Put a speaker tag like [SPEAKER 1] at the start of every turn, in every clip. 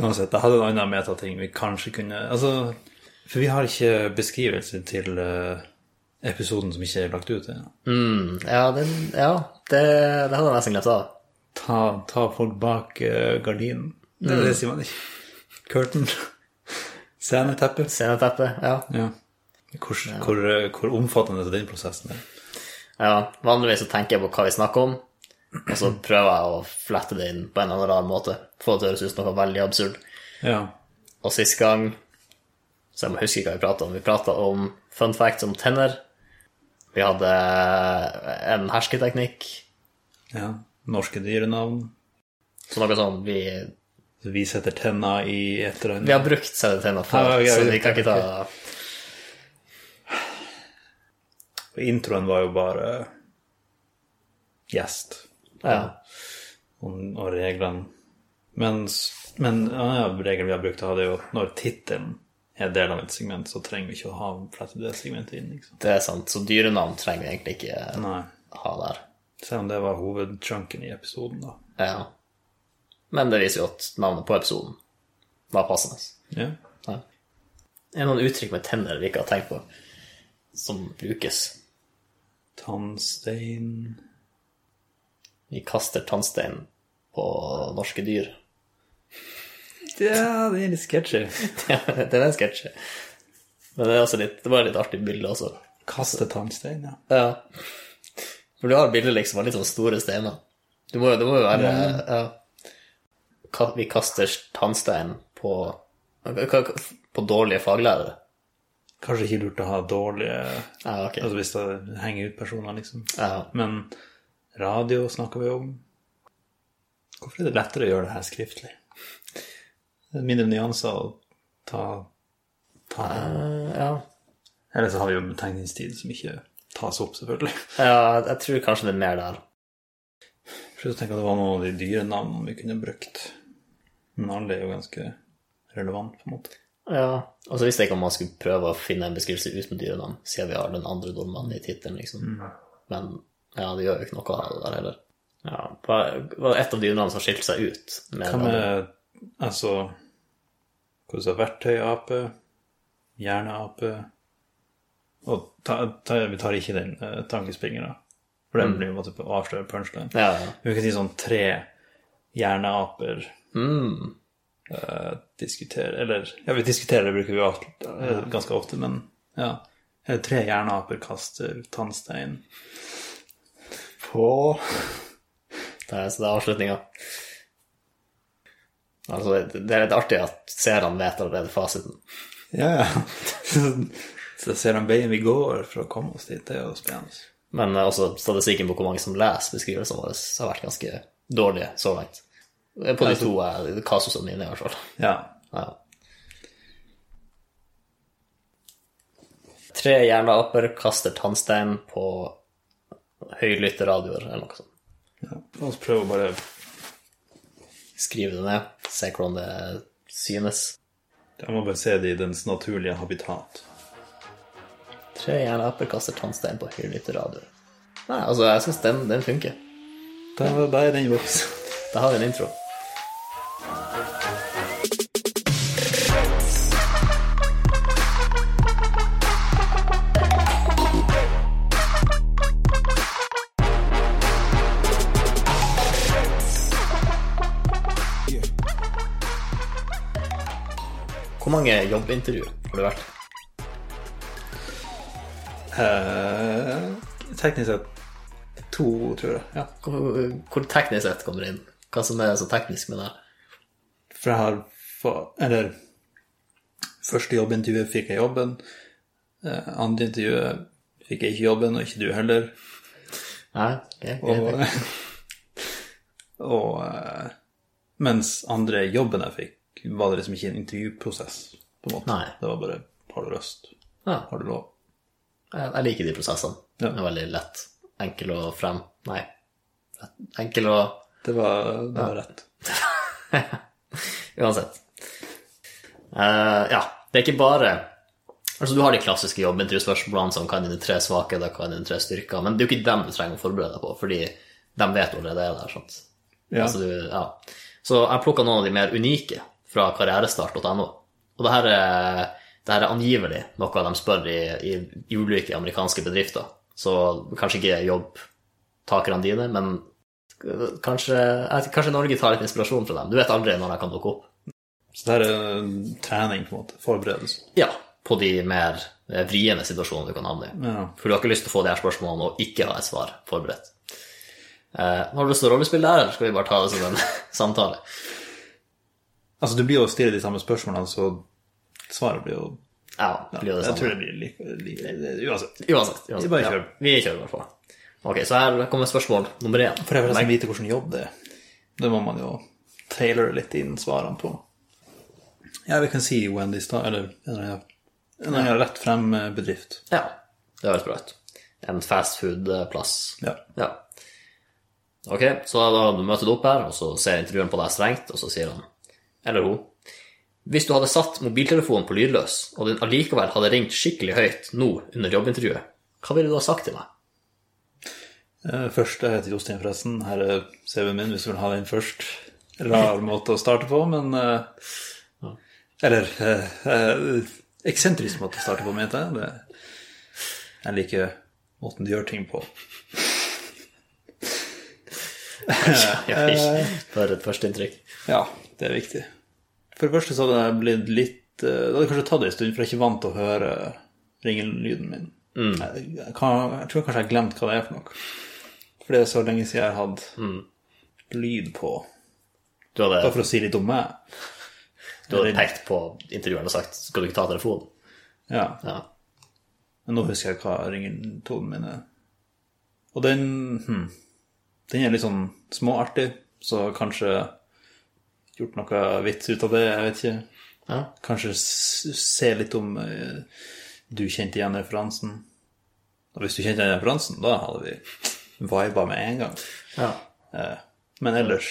[SPEAKER 1] Uansett, jeg hadde en annen metating vi kanskje kunne Altså, for vi har ikke beskrivelse til eh, episoden som ikke er lagt ut. Ja.
[SPEAKER 2] Mm, Ja, den, ja det, det hadde jeg nesten glemt av.
[SPEAKER 1] Ta, ta folk bak eh, gardinen. Mm. Det, det sier man ikke. Curtain. Sceneteppe.
[SPEAKER 2] Sceneteppet, ja.
[SPEAKER 1] Ja. Hvor, hvor, eh, hvor omfattende den prosessen er.
[SPEAKER 2] ja. Vanligvis så tenker jeg på hva vi snakker om, og så prøver jeg å flette det inn på en eller annen rar måte. Få det til å høres ut som noe veldig absurd.
[SPEAKER 1] Ja.
[SPEAKER 2] Og sist gang Så jeg må huske hva vi prata om. Vi prata om fun facts om tenner. Vi hadde en hersketeknikk.
[SPEAKER 1] ja. Norske dyrenavn.
[SPEAKER 2] Så noe sånn vi,
[SPEAKER 1] Vi setter tenna i et eller
[SPEAKER 2] vi
[SPEAKER 1] annet.
[SPEAKER 2] har brukt CD-tenner før,
[SPEAKER 1] Ja, ja, ja,
[SPEAKER 2] så vi kan ikke ta
[SPEAKER 1] Og Introen var jo bare eh, gjest
[SPEAKER 2] ja.
[SPEAKER 1] og, og reglene. Mens, men en annen regel vi har brukt, hadde jo når tittelen er del av et segment, så trenger vi ikke å ha flettet det segmentet inn. Liksom.
[SPEAKER 2] Det er sant. Så dyrenavn trenger vi egentlig ikke
[SPEAKER 1] Nei.
[SPEAKER 2] ha der.
[SPEAKER 1] Selv om det var hovedchunken i episoden, da.
[SPEAKER 2] Ja. Men det viser jo at navnet på episoden var passende.
[SPEAKER 1] Ja.
[SPEAKER 2] Ja. Det er noen uttrykk med tenner vi ikke har tenkt på, som brukes.
[SPEAKER 1] Tannstein
[SPEAKER 2] Vi kaster tannstein på norske dyr.
[SPEAKER 1] Ja, det er litt sketchy.
[SPEAKER 2] Ja, det er en sketsj. Men det er også litt, det var et litt artig bilde også.
[SPEAKER 1] Kaste tannstein, ja.
[SPEAKER 2] Ja. For du har bilder liksom av litt sånn store steiner. Det må, jo- det må jo være ja. Ka- Vi kaster tannstein på, ka- ka- på dårlige faglærere.
[SPEAKER 1] Kanskje ikke lurt å ha dårlige
[SPEAKER 2] Ja, ok.
[SPEAKER 1] Altså hvis det henger ut personer, liksom.
[SPEAKER 2] Ja.
[SPEAKER 1] Men radio snakker vi om. Hvorfor er det lettere å gjøre det her skriftlig? Det er mindre nyanser å ta, ta
[SPEAKER 2] Eh, ja.
[SPEAKER 1] Eller så har vi jo betegningstid som ikke tas opp, selvfølgelig.
[SPEAKER 2] ja, jeg tror kanskje det er mer der.
[SPEAKER 1] Prøvde å tenke at det var noen av de dyre navnene vi kunne brukt. Men alle er jo ganske relevant, på en måte.
[SPEAKER 2] Ja. Og så visste jeg ikke om man skulle prøve å finne en beskrivelse uten dyrenavn, siden vi har den andre nordmannen i tittelen, liksom. Men ja, det gjør jo ikke noe av det der heller. Ja, hva var et av dyrenavn som skilte seg ut? Med
[SPEAKER 1] Hva
[SPEAKER 2] den andre?
[SPEAKER 1] med altså Hva du sa, verktøyape, hjerneape Og ta, ta, vi tar ikke den uh, tankespringeren, da. for den blir jo måtte avsløre punchline.
[SPEAKER 2] Mm. Ja, ja.
[SPEAKER 1] Vi kan si sånn tre hjerneaper
[SPEAKER 2] Mm.
[SPEAKER 1] eh, diskuterer Eller ja, vi diskuterer det bruker vi jo alt- eh, ganske ofte, men ja. Eh, Tre hjerneaper kaster tannstein på
[SPEAKER 2] Det er, så det er avslutninga. Altså, det- det er litt artig at seerne vet allerede fasiten.
[SPEAKER 1] Ja, ja. Så ser de veien vi går for å komme oss dit. Det er jo spennende.
[SPEAKER 2] Men eh, også statistikken på hvor mange som leser beskrivelsene våre, har vært ganske dårlige så langt. På de to eh, kasusene mine, i hvert fall.
[SPEAKER 1] Ja,
[SPEAKER 2] Ja. Tre jernaper kaster tannstein på høylytterradioer eller noe sånt.
[SPEAKER 1] Ja, La oss prøve å bare
[SPEAKER 2] Skriv det ned, se hvordan det synes.
[SPEAKER 1] Jeg må bare se det i dens naturlige habitat.
[SPEAKER 2] Tre jernaper kaster tannstein på høylytterradioer. Nei, altså, jeg syns den, den funker.
[SPEAKER 1] Da, da er den i boks.
[SPEAKER 2] Da har vi en intro. Hvor mange jobbintervju har det vært?
[SPEAKER 1] Eh, teknisk sett to, tror jeg. Ja.
[SPEAKER 2] Hvor, hvor teknisk sett kommer det inn? Hva som er så teknisk med det?
[SPEAKER 1] For jeg har fa- Eller første jobbintervjuet fikk jeg jobben. Eh, andre intervjuet fikk jeg ikke jobben, og ikke du heller.
[SPEAKER 2] Nei, ok, greit.
[SPEAKER 1] Og, og eh, mens andre jobben jeg fikk, var det liksom ikke en intervjuprosess, på en måte.
[SPEAKER 2] Nei.
[SPEAKER 1] Det var bare har du lyst,
[SPEAKER 2] Ja.
[SPEAKER 1] har du lov.
[SPEAKER 2] Jeg Eh, jeg liker de prosessene.
[SPEAKER 1] Ja.
[SPEAKER 2] Det er veldig lett. Enkel og frem. Nei. Enkel og
[SPEAKER 1] Det var, det var rett.
[SPEAKER 2] Uansett. Eh, ja, det er ikke bare Altså, du har de klassiske jobbintervjuspørsmålene som kan dine tre svakheter, hva er dine tre styrker, men det er jo ikke dem du trenger å forberede deg på, fordi de vet allerede det er der, sant?
[SPEAKER 1] Ja.
[SPEAKER 2] Altså, du, ja. Så jeg plukka noen av de mer unike fra karrierestart.no. Og det her, er, det her er angivelig noe de spør i, i ulike amerikanske bedrifter. Så kanskje ikke jobbtakerne dine, men kanskje, jeg vet ikke, kanskje Norge tar litt inspirasjon fra dem. Du vet aldri når de kan dukke opp.
[SPEAKER 1] Så det her er eh, trening, på en måte. Forberedelse.
[SPEAKER 2] Ja, på de mer eh, vriene situasjonene du kan havne i.
[SPEAKER 1] Ja.
[SPEAKER 2] For du har ikke lyst til å få de her spørsmålene og ikke ha et svar forberedt. Eh, har du lyst til å rollespill der, eller skal vi bare ta det som en samtale?
[SPEAKER 1] Altså, du blir jo stilt de samme spørsmålene, så svaret blir jo
[SPEAKER 2] Ja, blir det
[SPEAKER 1] Jeg
[SPEAKER 2] samme.
[SPEAKER 1] tror det blir like, like Uansett.
[SPEAKER 2] Uansett.
[SPEAKER 1] Vi
[SPEAKER 2] uansett.
[SPEAKER 1] bare kjører.
[SPEAKER 2] Ja, vi kjører bare på. Ok, så her kommer spørsmål nummer én.
[SPEAKER 1] For jeg vil nesten vite hvilken jobb det er. Det må man jo tailore litt inn svarene på. Ja, vi kan si Wendy Star, eller en eller annen- en eller annen rett frem-bedrift.
[SPEAKER 2] Ja, det høres bra ut. En fastfood-plass.
[SPEAKER 1] Ja.
[SPEAKER 2] Ja. Ok, så da møter du opp her, og så ser intervjueren på deg strengt, og så sier han, eller hun, hvis du hadde satt mobiltelefonen på lydløs, og den allikevel hadde ringt skikkelig høyt nå under jobbintervjuet, hva ville du ha sagt til meg?
[SPEAKER 1] Eh, Først, jeg heter Jostein forresten. Her er CV-en min, hvis du vil ha den først. Rar måte å starte på, men eh, Eller eh, eh, eksentrisk måte å starte på, mente jeg. Det, jeg liker måten du gjør ting på.
[SPEAKER 2] Ja, ikke bare et førsteinntrykk.
[SPEAKER 1] Ja, det er viktig. For det første så hadde jeg blitt litt eh, Det hadde kanskje tatt det en stund, for jeg er ikke vant til å høre ringelyden min. Jeg, jeg, kan, jeg tror kanskje jeg har glemt hva det er for noe. For det er så lenge siden jeg har hatt lyd på.
[SPEAKER 2] Du hadde,
[SPEAKER 1] Bare for å si litt om meg.
[SPEAKER 2] du hadde pekt på intervjueren og sagt, skal du ikke ta telefonen?
[SPEAKER 1] Ja.
[SPEAKER 2] Ja.
[SPEAKER 1] Men nå husker jeg hva ringetonen min er. Og den hm, Den er litt sånn småartig, så kanskje gjort noe vits ut av det, jeg vet ikke.
[SPEAKER 2] Ja.
[SPEAKER 1] Kanskje s- se litt om eh, du kjente igjen referansen. Og hvis du kjente igjen referansen, da hadde vi viba med en gang.
[SPEAKER 2] ja.
[SPEAKER 1] Eh, Men ellers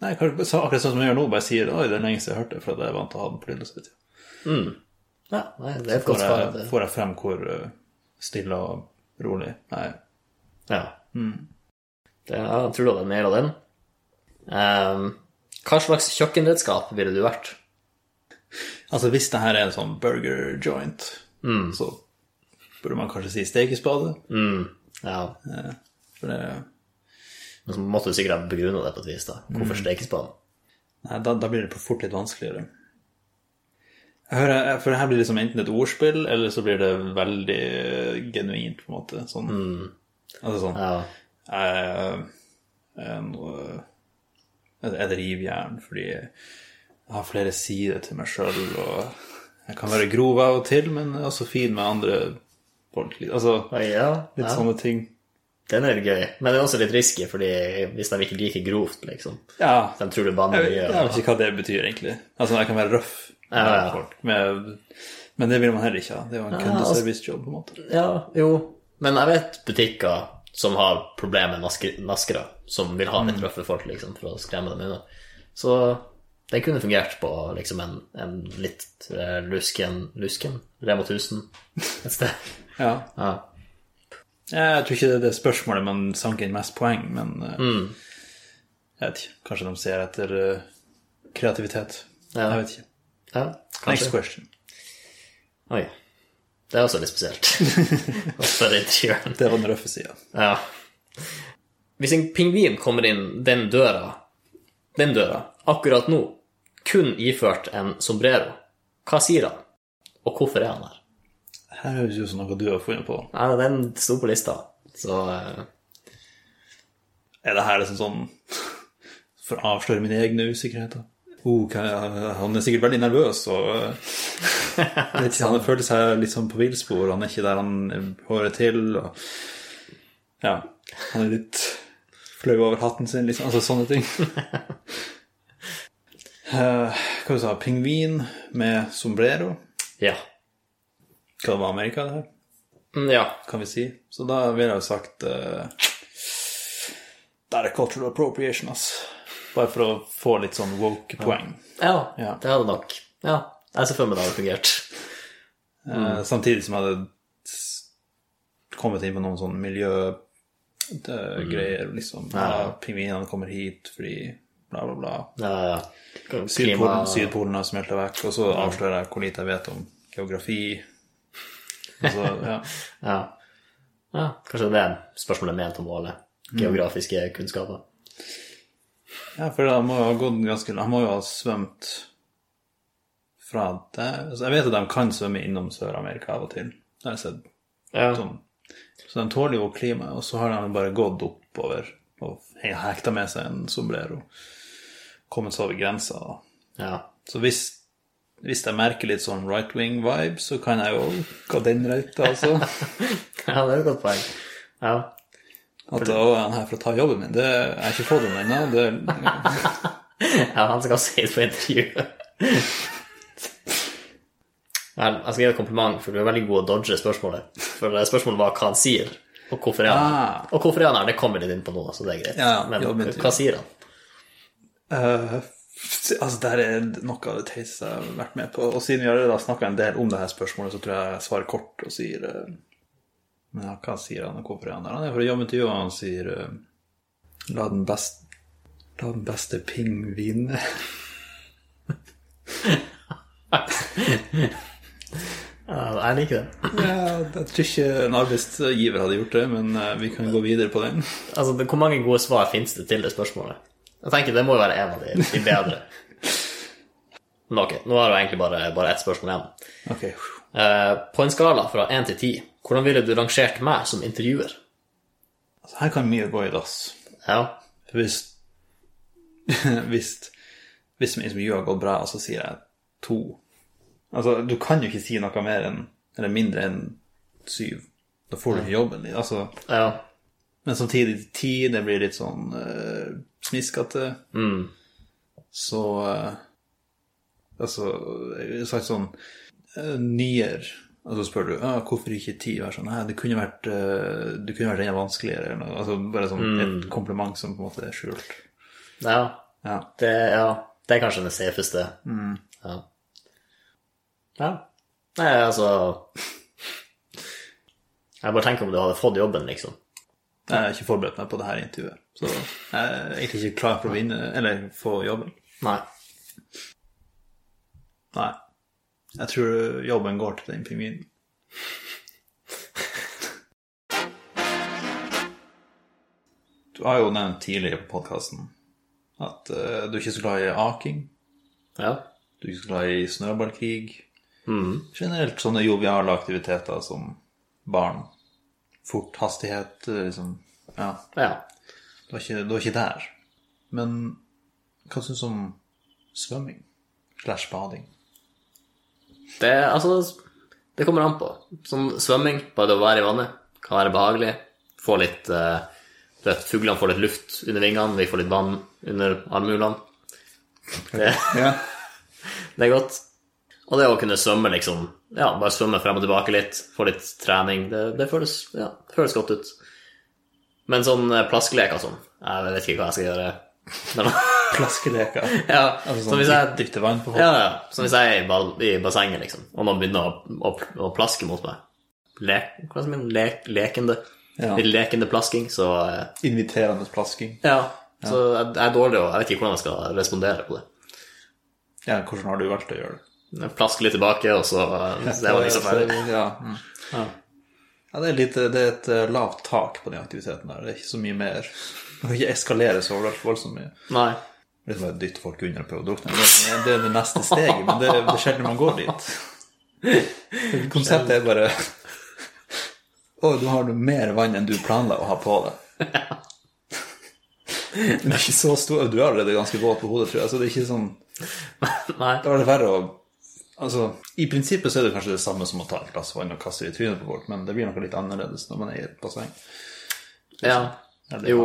[SPEAKER 1] Nei, kanskje bare sa akkurat sånn som jeg gjør nå, bare sier oi, det er lenge siden jeg hørte det, for at jeg er vant til å ha den på lydløs.
[SPEAKER 2] Ja, nei, det er et godt
[SPEAKER 1] Får,
[SPEAKER 2] svar.
[SPEAKER 1] jeg-
[SPEAKER 2] det-
[SPEAKER 1] får jeg frem hvor eh, stille og rolig Nei.
[SPEAKER 2] Ja.
[SPEAKER 1] Mm.
[SPEAKER 2] Det, jeg tror du hadde naila den. Ehm, hva slags kjøkkenredskap ville du vært?
[SPEAKER 1] Altså, hvis det her er en sånn burger joint, så burde man kanskje si stekespade.
[SPEAKER 2] Ja,
[SPEAKER 1] For det
[SPEAKER 2] men så måtte du sikkert ha begrunna det på et vis. da. Hvorfor
[SPEAKER 1] Mm.
[SPEAKER 2] stekespaden?
[SPEAKER 1] Nei, da, da blir det på fort litt vanskeligere. Jeg hører, for her blir det liksom enten et ordspill, eller så blir det veldig eh, genuint, på en måte. Sånn. Altså sånn
[SPEAKER 2] Ja.
[SPEAKER 1] jeg, en, eh, Et rivjern, fordi jeg har flere sider til meg sjøl, og jeg kan være grov av og til, men jeg er også fin med andre folk. Altså
[SPEAKER 2] Oi, ja,
[SPEAKER 1] litt
[SPEAKER 2] ja.
[SPEAKER 1] sånne ting.
[SPEAKER 2] Den er gøy, men det er også litt risky, fordi hvis de ikke liker grovt, liksom
[SPEAKER 1] Ja,
[SPEAKER 2] De tror du banner
[SPEAKER 1] Jeg vet, jeg
[SPEAKER 2] mye.
[SPEAKER 1] vet ikke hva det betyr, egentlig. Altså, jeg kan være røff med
[SPEAKER 2] Ja, ja.
[SPEAKER 1] folk, med, men det vil man heller ikke ha. Det er jo en kundeservicejobb, på en måte.
[SPEAKER 2] Ja, jo. Men jeg vet butikker som har problemer med naske- naskere, som vil ha litt røffe folk, liksom, for å skremme dem unna. Så den kunne fungert på liksom en, en litt eh, lusken Lusken? Rema 1000 et sted.
[SPEAKER 1] Ja.
[SPEAKER 2] Ja.
[SPEAKER 1] Jeg tror ikke det er det spørsmålet man sank inn mest poeng, men eh,
[SPEAKER 2] Mm.
[SPEAKER 1] jeg vet ikke. Kanskje de ser etter eh, kreativitet.
[SPEAKER 2] Ja.
[SPEAKER 1] Jeg vet ikke.
[SPEAKER 2] ja,
[SPEAKER 1] Next
[SPEAKER 2] kanskje.
[SPEAKER 1] question.
[SPEAKER 2] Oi. Det er også litt spesielt. å spørre intervjueren.
[SPEAKER 1] Det var den røffe sida.
[SPEAKER 2] Ja. Hvis en pingvin kommer inn den døra, den døra, akkurat nå, kun iført en sombrero, hva sier han? Og hvorfor er han der?
[SPEAKER 1] Her høres jo ut som noe du har funnet på.
[SPEAKER 2] Nei, den sto på lista, så eh,
[SPEAKER 1] Er det her liksom sånn for å avsløre mine egne usikkerheter? Oh, hva- han er sikkert veldig nervøs, og eh, vet ikke, han føler seg litt sånn på villspor. Han er ikke der han hører til. Og, ja, han er litt flau over hatten sin, liksom. Altså sånne ting. Eh, hva du sa du? Pingvin med sombrero?
[SPEAKER 2] ja.
[SPEAKER 1] Hva var Amerika, det her?
[SPEAKER 2] Mm, ja.
[SPEAKER 1] kan vi si. Så da ville jeg jo sagt uh, Der er cultural appropriation, ass. Bare for å få litt sånn woke-poeng.
[SPEAKER 2] ja.
[SPEAKER 1] Ja.
[SPEAKER 2] det hadde nok. Ja, jeg ser for meg det hadde fungert. Mm.
[SPEAKER 1] Eh, samtidig som jeg hadde s- kommet inn på noen sånn eh,
[SPEAKER 2] Mm.
[SPEAKER 1] sånne miljøgreier. Liksom. Ja, pingvinene kommer hit fordi bla, bla, bla.
[SPEAKER 2] Ja, ja. Klima-
[SPEAKER 1] Sydpolen, Sydpolen har smelta vekk, og så avslører jeg hvor lite jeg vet om geografi. Og så, ja.
[SPEAKER 2] Ja. ja. Kanskje det er spørsmålet er ment om Våle. Geografiske kunnskaper.
[SPEAKER 1] ja, for han må jo ha gått ganske Han må jo ha svømt fra der så Jeg vet at de kan svømme innom Sør-Amerika av og til. Det har jeg sett.
[SPEAKER 2] Ja.
[SPEAKER 1] Sånn. Så de tåler jo klimaet, og så har de bare gått oppover og hekta med seg en sombrero. Kommet seg over grensa. da.
[SPEAKER 2] ja.
[SPEAKER 1] Så hvis, hvis jeg merker litt sånn right wing-vibe, så kan jeg jo gå den røyta, altså.
[SPEAKER 2] Ja, det er et godt poeng. Ja.
[SPEAKER 1] At å, han her for å ta jobben min, det, jeg har ikke fått den ennå. Det,
[SPEAKER 2] ja, han skal si det på intervjuet. Vel, jeg skal gi deg et kompliment, for du er veldig god å dodge spørsmålet. For eh, spørsmålet var hva han sier, og hvorfor er han
[SPEAKER 1] Ah.
[SPEAKER 2] Og hvorfor er han her, det kommer vi litt inn på nå, så det er greit.
[SPEAKER 1] Ja, ja,
[SPEAKER 2] Men
[SPEAKER 1] jobb intervju.
[SPEAKER 2] hva sier han?
[SPEAKER 1] Eh, altså, det her er noe av det teiteste jeg har vært med på. Og siden vi allerede har snakka en del om det her spørsmålet, så tror jeg jeg svarer kort og sier eh, Men ja, hva sier han, og hvorfor er han der? Han er fra jobbintervjuet, og han sier eh, La den beste La den beste ping vinne.
[SPEAKER 2] Ja, jeg liker det.
[SPEAKER 1] Ja, jeg tror ikke en arbeidsgiver hadde gjort det, men eh, vi kan gå videre på den.
[SPEAKER 2] Altså, det- hvor mange gode svar fins det til det spørsmålet? Jeg tenker det må jo være en av de, de bedre. Men ok, nå har du egentlig bare, bare ett spørsmål igjen.
[SPEAKER 1] Ok,
[SPEAKER 2] Eh, på en skala fra 1 til 10, hvordan ville du rangert meg som intervjuer?
[SPEAKER 1] altså, Her kan mye gå i dass.
[SPEAKER 2] Ja,
[SPEAKER 1] For hvis, hvis, hvis intervjuet har gått bra, så sier jeg to. Altså, du kan jo ikke si noe mer enn, eller mindre enn syv. Da får du ikke jobben din. Altså,
[SPEAKER 2] ja.
[SPEAKER 1] men samtidig ti, det blir litt sånn eh, smiskete. Så eh, Altså, jeg har sagt sånn uh, nier. Og så spør du ah, hvorfor ikke ti. Vær sånn, Nei, det kunne vært, eh, det kunne vært enda vanskeligere. Eller noe. Altså, bare sånn et kompliment som på en måte er skjult.
[SPEAKER 2] Ja,
[SPEAKER 1] Ja.
[SPEAKER 2] det, ja, det er kanskje den safeste. Ja. ja. Nei, altså Jeg bare tenker om du hadde fått jobben, liksom.
[SPEAKER 1] Jeg har ikke forberedt meg på det her intervjuet, så jeg er egentlig ikke klar for å vinne, eller få jobben.
[SPEAKER 2] Nei.
[SPEAKER 1] Nei. Jeg tror jobben går til den pingvinen. Du har jo nevnt tidligere på podkasten at eh, du er ikke så glad i aking,
[SPEAKER 2] Ja.
[SPEAKER 1] du er ikke så glad i snøballkrig. Generelt sånne joviale aktiviteter som barn. Fort hastighet, eh, liksom. Ja.
[SPEAKER 2] ja.
[SPEAKER 1] Du var ikke, du var ikke der. Men hva syns du om svømming? Slash bading?
[SPEAKER 2] Det altså Det kommer an på. Som svømming, bare det å være i vannet kan være behagelig. Få litt eh, du vet, Fuglene får litt luft under vingene, vi får litt vann under armhulene. Det
[SPEAKER 1] Ja.
[SPEAKER 2] Det er godt. Og det å kunne svømme, liksom. Ja, bare svømme frem og tilbake litt, få litt trening. Det, det føles, ja, det føles godt ut. Men sånn eh, plaskelek og sånn Jeg vet ikke hva jeg skal gjøre. Men,
[SPEAKER 1] Plaskeleker.
[SPEAKER 2] ja,
[SPEAKER 1] Altså
[SPEAKER 2] som
[SPEAKER 1] sånn
[SPEAKER 2] hvis jeg,
[SPEAKER 1] dyp- dypte vann på folk.
[SPEAKER 2] ja, ja, som hvis jeg er i, bad, i bassenget, liksom, og noen begynner å, å, å plaske mot meg. Lek, hva er det som er lek, lekende?
[SPEAKER 1] Ja.
[SPEAKER 2] Litt lekende plasking, så eh,
[SPEAKER 1] Inviterende plasking.
[SPEAKER 2] Ja. Så jeg, jeg er dårlig, og jeg vet ikke hvordan jeg skal respondere på det.
[SPEAKER 1] Ja, hvordan har du valgt å gjøre det?
[SPEAKER 2] Jeg Plasker litt tilbake, og så eh, så er man liksom ferdig.
[SPEAKER 1] Ja, mm.
[SPEAKER 2] Ja.
[SPEAKER 1] ja det, er litt, det er et eh, lavt tak på den aktiviteten der. Det er ikke så mye mer. Man kan ikke eskalere så voldsomt mye.
[SPEAKER 2] Nei.
[SPEAKER 1] Det er bare å dytte folk under og prøve å drukne. Det er- Det er det neste steget, men det er, det er sjelden man går dit. Konseptet er bare Å, du har du mer vann enn du planla å ha på deg. Men det er ikke så stor Du er allerede ganske våt på hodet, tror jeg, så det er ikke sånn
[SPEAKER 2] Nei.
[SPEAKER 1] Da var det verre å Altså, i prinsippet så er det kanskje det samme som å ta et glass vann og kaste det i trynet på folk, men det blir noe litt annerledes når man er i et basseng.
[SPEAKER 2] Ja.
[SPEAKER 1] Eller-
[SPEAKER 2] Jo.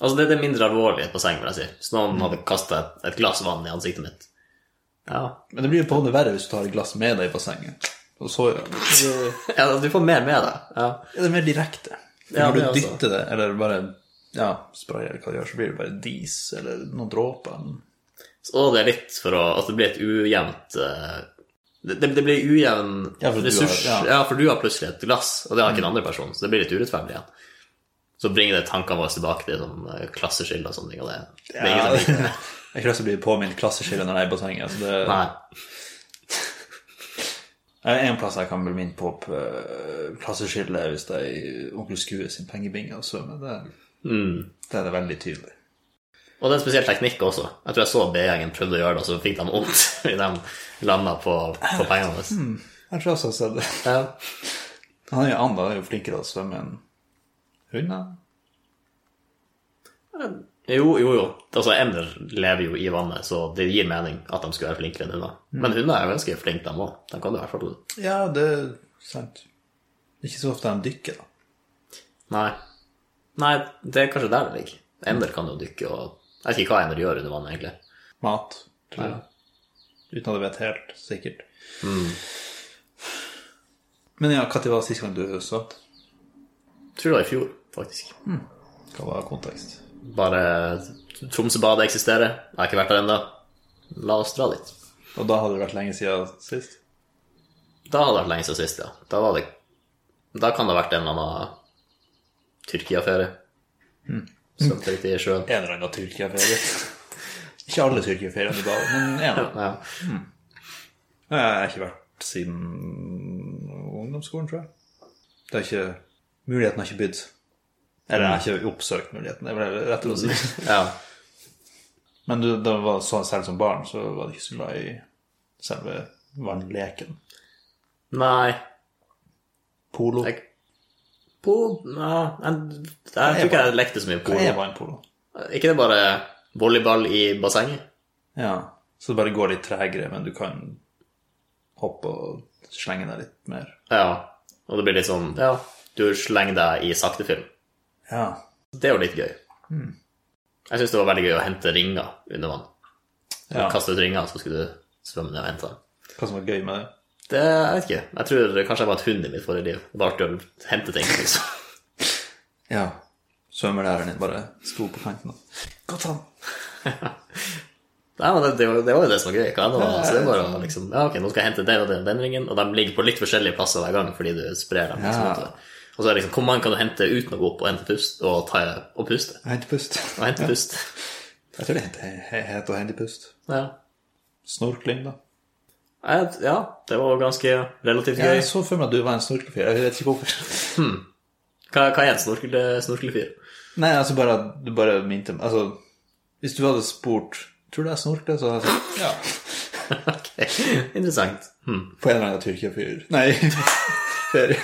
[SPEAKER 2] Altså, det er det mindre alvorlig på seng, vil jeg si. Hvis noen hadde kasta et, et glass vann i ansiktet mitt. Ja.
[SPEAKER 1] Men det blir jo på en måte verre hvis du tar et glass med deg i bassenget. Og så gjør det.
[SPEAKER 2] ja. Du får mer med deg. Ja.
[SPEAKER 1] Ja, det er mer direkte. Når
[SPEAKER 2] Ja,
[SPEAKER 1] du
[SPEAKER 2] det er altså-
[SPEAKER 1] dytter det, eller bare ja, sprayer eller hva du gjør, så blir det bare dis eller noen dråper.
[SPEAKER 2] Og det er litt for å At det blir et ujevnt eh, det, det det blir ujevn
[SPEAKER 1] Ja, for du
[SPEAKER 2] ressurs.
[SPEAKER 1] har-
[SPEAKER 2] ja. for du har plutselig et glass, og det har ikke den andre personen, så det blir litt urettferdig igjen. Så bringer det tankene våre tilbake til sånn eh, klasseskille og sånne ting, og det, det er ingen som liker det.
[SPEAKER 1] Jeg har ikke lyst til å bli påminnet klasseskille når jeg er i bassenget. Så det
[SPEAKER 2] Nei.
[SPEAKER 1] er en plass jeg kan bli minnet på på, eh, klasseskille hvis det er i Onkel Skue sin pengebinge også, men det,
[SPEAKER 2] Mm.
[SPEAKER 1] det er det veldig tydelig.
[SPEAKER 2] Og det er en spesiell teknikk også. Jeg tror jeg så B-gjengen prøvde å gjøre det, og så fikk de vondt i de landa på, på pengene våre.
[SPEAKER 1] Jeg tror også jeg har sett det.
[SPEAKER 2] Ja.
[SPEAKER 1] Han er jo Anda er jo flinkere til å svømme enn hunder.
[SPEAKER 2] Jo, jo, jo. Altså, Ender lever jo i vannet, så det gir mening at de skulle være flinkere enn hunder. Men hunder er jo ganske flinke, de òg. De kan jo i hvert fall
[SPEAKER 1] Ja, det er sant. Det er ikke så ofte han dykker, da.
[SPEAKER 2] Nei. Nei, det er kanskje der det ligger. Ender kan jo dykke og Jeg vet ikke hva ender gjør under vannet, egentlig.
[SPEAKER 1] Mat, tror jeg. Uten at jeg vet helt sikkert. Mm. Men ja, når var sist gang du svømte?
[SPEAKER 2] Jeg tror det var i fjor, faktisk.
[SPEAKER 1] Hva var kontekst?
[SPEAKER 2] Bare Tromsøbadet eksisterer. Jeg har ikke vært der ennå. La oss dra dit.
[SPEAKER 1] Og da hadde det vært lenge siden sist?
[SPEAKER 2] Da hadde det vært lenge siden sist, ja. Da, var det, da kan det ha vært en eller annen Tyrkia-ferie. Mm. Svømte litt i sjøen.
[SPEAKER 1] En eller annen Tyrkia-ferie. ikke alle Tyrkia-feriene i dag, men en. av dem.
[SPEAKER 2] Ja.
[SPEAKER 1] Jeg har ikke vært siden ungdomsskolen, tror jeg. Det er ikke Muligheten har ikke bydd. Eller jeg har ikke oppsøkt muligheten, det er vel rett å si.
[SPEAKER 2] ja.
[SPEAKER 1] Men du, da var sånn selv som barn, så var du ikke så glad i selve vannleken.
[SPEAKER 2] Nei
[SPEAKER 1] Polo.
[SPEAKER 2] jeg, På Nei, jeg, jeg tror ikke jeg lekte så mye
[SPEAKER 1] Hva er
[SPEAKER 2] polo.
[SPEAKER 1] vannpolo?
[SPEAKER 2] Ikke det bare volleyball i bassenget?
[SPEAKER 1] Ja. Så det bare går litt tregere, men du kan hoppe og slenge deg litt mer.
[SPEAKER 2] Ja. Og det blir litt sånn Ja, du slenger deg i sakte film.
[SPEAKER 1] Ja.
[SPEAKER 2] Det er jo litt gøy. Hmm. Jeg syns det var veldig gøy å hente ringer under vann. Du
[SPEAKER 1] Ja.
[SPEAKER 2] Kaste ut ringer, så skulle du svømme ned og hente dem.
[SPEAKER 1] Hva som var gøy med det?
[SPEAKER 2] Det jeg vet ikke. Jeg tror kanskje jeg var et hund i mitt forrige liv. Det var artig å hente ting, liksom.
[SPEAKER 1] Ja. Svømmelæreren din bare sto på kanten og Godt han!
[SPEAKER 2] Nei, men det, det, var, det var jo det som var gøy. Hva enn det var, så det er bare å liksom, ja, ok, nå skal jeg hente den og den, den ringen, og de ligger på litt forskjellige plasser hver gang fordi du sprer dem. Liksom,
[SPEAKER 1] Ja.
[SPEAKER 2] utover. Og så er det liksom, hvor mange kan du hente uten å gå opp og hente pust, og, ta, og puste?
[SPEAKER 1] Hentepust.
[SPEAKER 2] Og hente pust.
[SPEAKER 1] Jeg tror det heter he- heter å hente pust.
[SPEAKER 2] Ja.
[SPEAKER 1] Snorkling, da.
[SPEAKER 2] Jeg, ja, det var ganske relativt gøy.
[SPEAKER 1] Jeg så for meg at du var en snorkefyr. Jeg vet ikke hvorfor.
[SPEAKER 2] Hva, hva er en snorkel, eh, snorkelefyr?
[SPEAKER 1] Nei, altså bare at du bare minte meg Altså, hvis du hadde spurt Tror du jeg snorkler? Så hadde jeg sagt ja.
[SPEAKER 2] ok, interessant. Hm.
[SPEAKER 1] På en eller annen Tyrkia-fyr. Nei, ferie.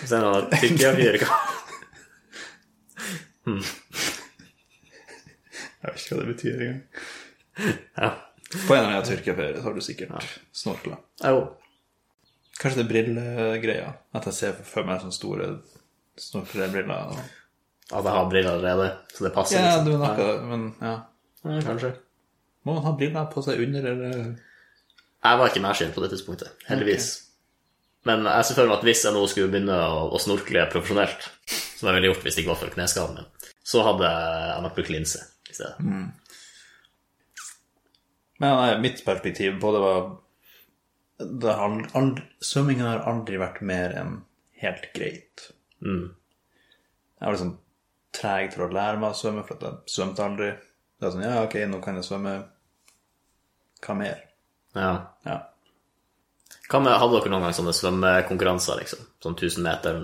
[SPEAKER 2] Så er det noe Tyrkia-fyr. hva-
[SPEAKER 1] Jeg vet ikke hva det betyr engang.
[SPEAKER 2] Ja,
[SPEAKER 1] På en eller annen Tyrkia-ferie så har du sikkert snorkla.
[SPEAKER 2] jo.
[SPEAKER 1] Kanskje det er brillegreia. At jeg ser for meg sånne store snorklebriller. og-
[SPEAKER 2] At jeg har briller allerede, så det passer
[SPEAKER 1] Ja,
[SPEAKER 2] liksom.
[SPEAKER 1] du er noe, men ja.
[SPEAKER 2] Ja, kanskje.
[SPEAKER 1] Må man ha briller på seg under, eller
[SPEAKER 2] Jeg var ikke nærsynt på det tidspunktet, heldigvis. Men jeg ser for meg at hvis jeg nå skulle begynne å, å snorkle profesjonelt, som jeg ville gjort hvis det ikke var for kneskaden min, så hadde jeg nok brukt linse i stedet.
[SPEAKER 1] Men nei, mitt perspektiv på det var det har ald- ald- Svømmingen har aldri vært mer enn helt greit. Mm. Jeg var liksom treg til å lære meg å svømme, for at jeg svømte aldri. Det var sånn, ja, ok, nå kan jeg svømme. Hva mer?
[SPEAKER 2] Ja.
[SPEAKER 1] Ja.
[SPEAKER 2] Hva med, hadde dere noen gang sånne svømmekonkurranser, liksom? Sånn 1000 meter?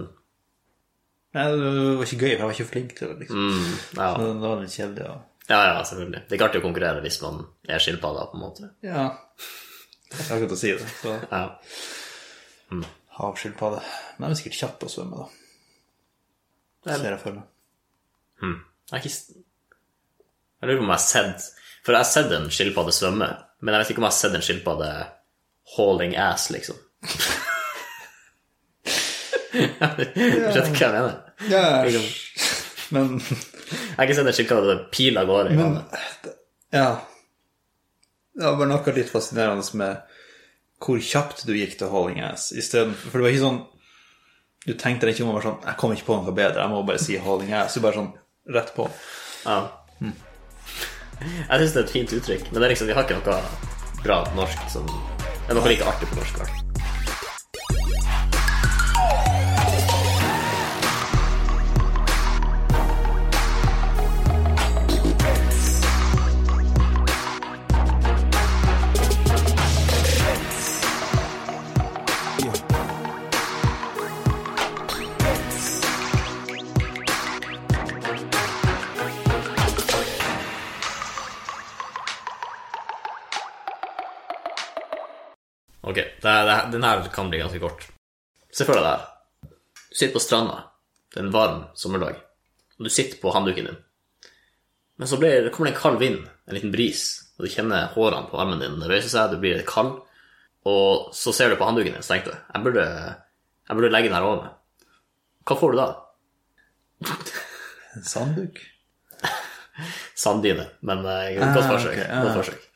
[SPEAKER 1] Nei, det var ikke gøy, for jeg var ikke flink til det, liksom.
[SPEAKER 2] Mm, ja.
[SPEAKER 1] Det det var litt kjedelig. Ja.
[SPEAKER 2] ja, ja, selvfølgelig. Det er ikke artig å konkurrere hvis man er skilpadda, på en måte.
[SPEAKER 1] ja. Jeg har ikke til å si det. Så.
[SPEAKER 2] Ja.
[SPEAKER 1] Havskilpadde. Men de er sikkert kjappe å svømme, da. Det ser jeg for meg.
[SPEAKER 2] Jeg har ikke s- Jeg lurer på om jeg har sett For jeg har sett en skilpadde svømme, men jeg vet ikke om jeg har sett en skilpadde hauling ass, liksom. Skjønner du hva jeg mener?
[SPEAKER 1] Ja, men
[SPEAKER 2] Jeg har ikke sett en skilpadde pil av gårde i vannet.
[SPEAKER 1] Ja. Det var bare noe litt fascinerende med hvor kjapt du gikk til hauling ass. I stedet, for det var ikke sånn Du tenkte deg ikke om å være sånn Jeg kommer ikke på noe bedre, jeg må bare si hauling ass. Du bare sånn rett på.
[SPEAKER 2] Ja. Jeg syns det er et fint uttrykk, men det er liksom, vi har ikke noe bra norsk som Det er noe like artig på norsk. i hvert fall. ok. Det, det, den her kan bli ganske kort. Se for deg det her. Du sitter på stranda. Det er en varm sommerdag. Og du sitter på handduken din. Men så blir, kommer det en kald vind, en liten bris, og du kjenner hårene på armen din. Det røyser seg, du blir litt kald, og så ser du på handduken din, så tenker du jeg burde, jeg burde legge den her over meg. Hva får du da?
[SPEAKER 1] En sandduk?
[SPEAKER 2] Sanddine, men eh,
[SPEAKER 1] Ah,
[SPEAKER 2] godt forsøk.
[SPEAKER 1] ok, ja.
[SPEAKER 2] Godt forsøk.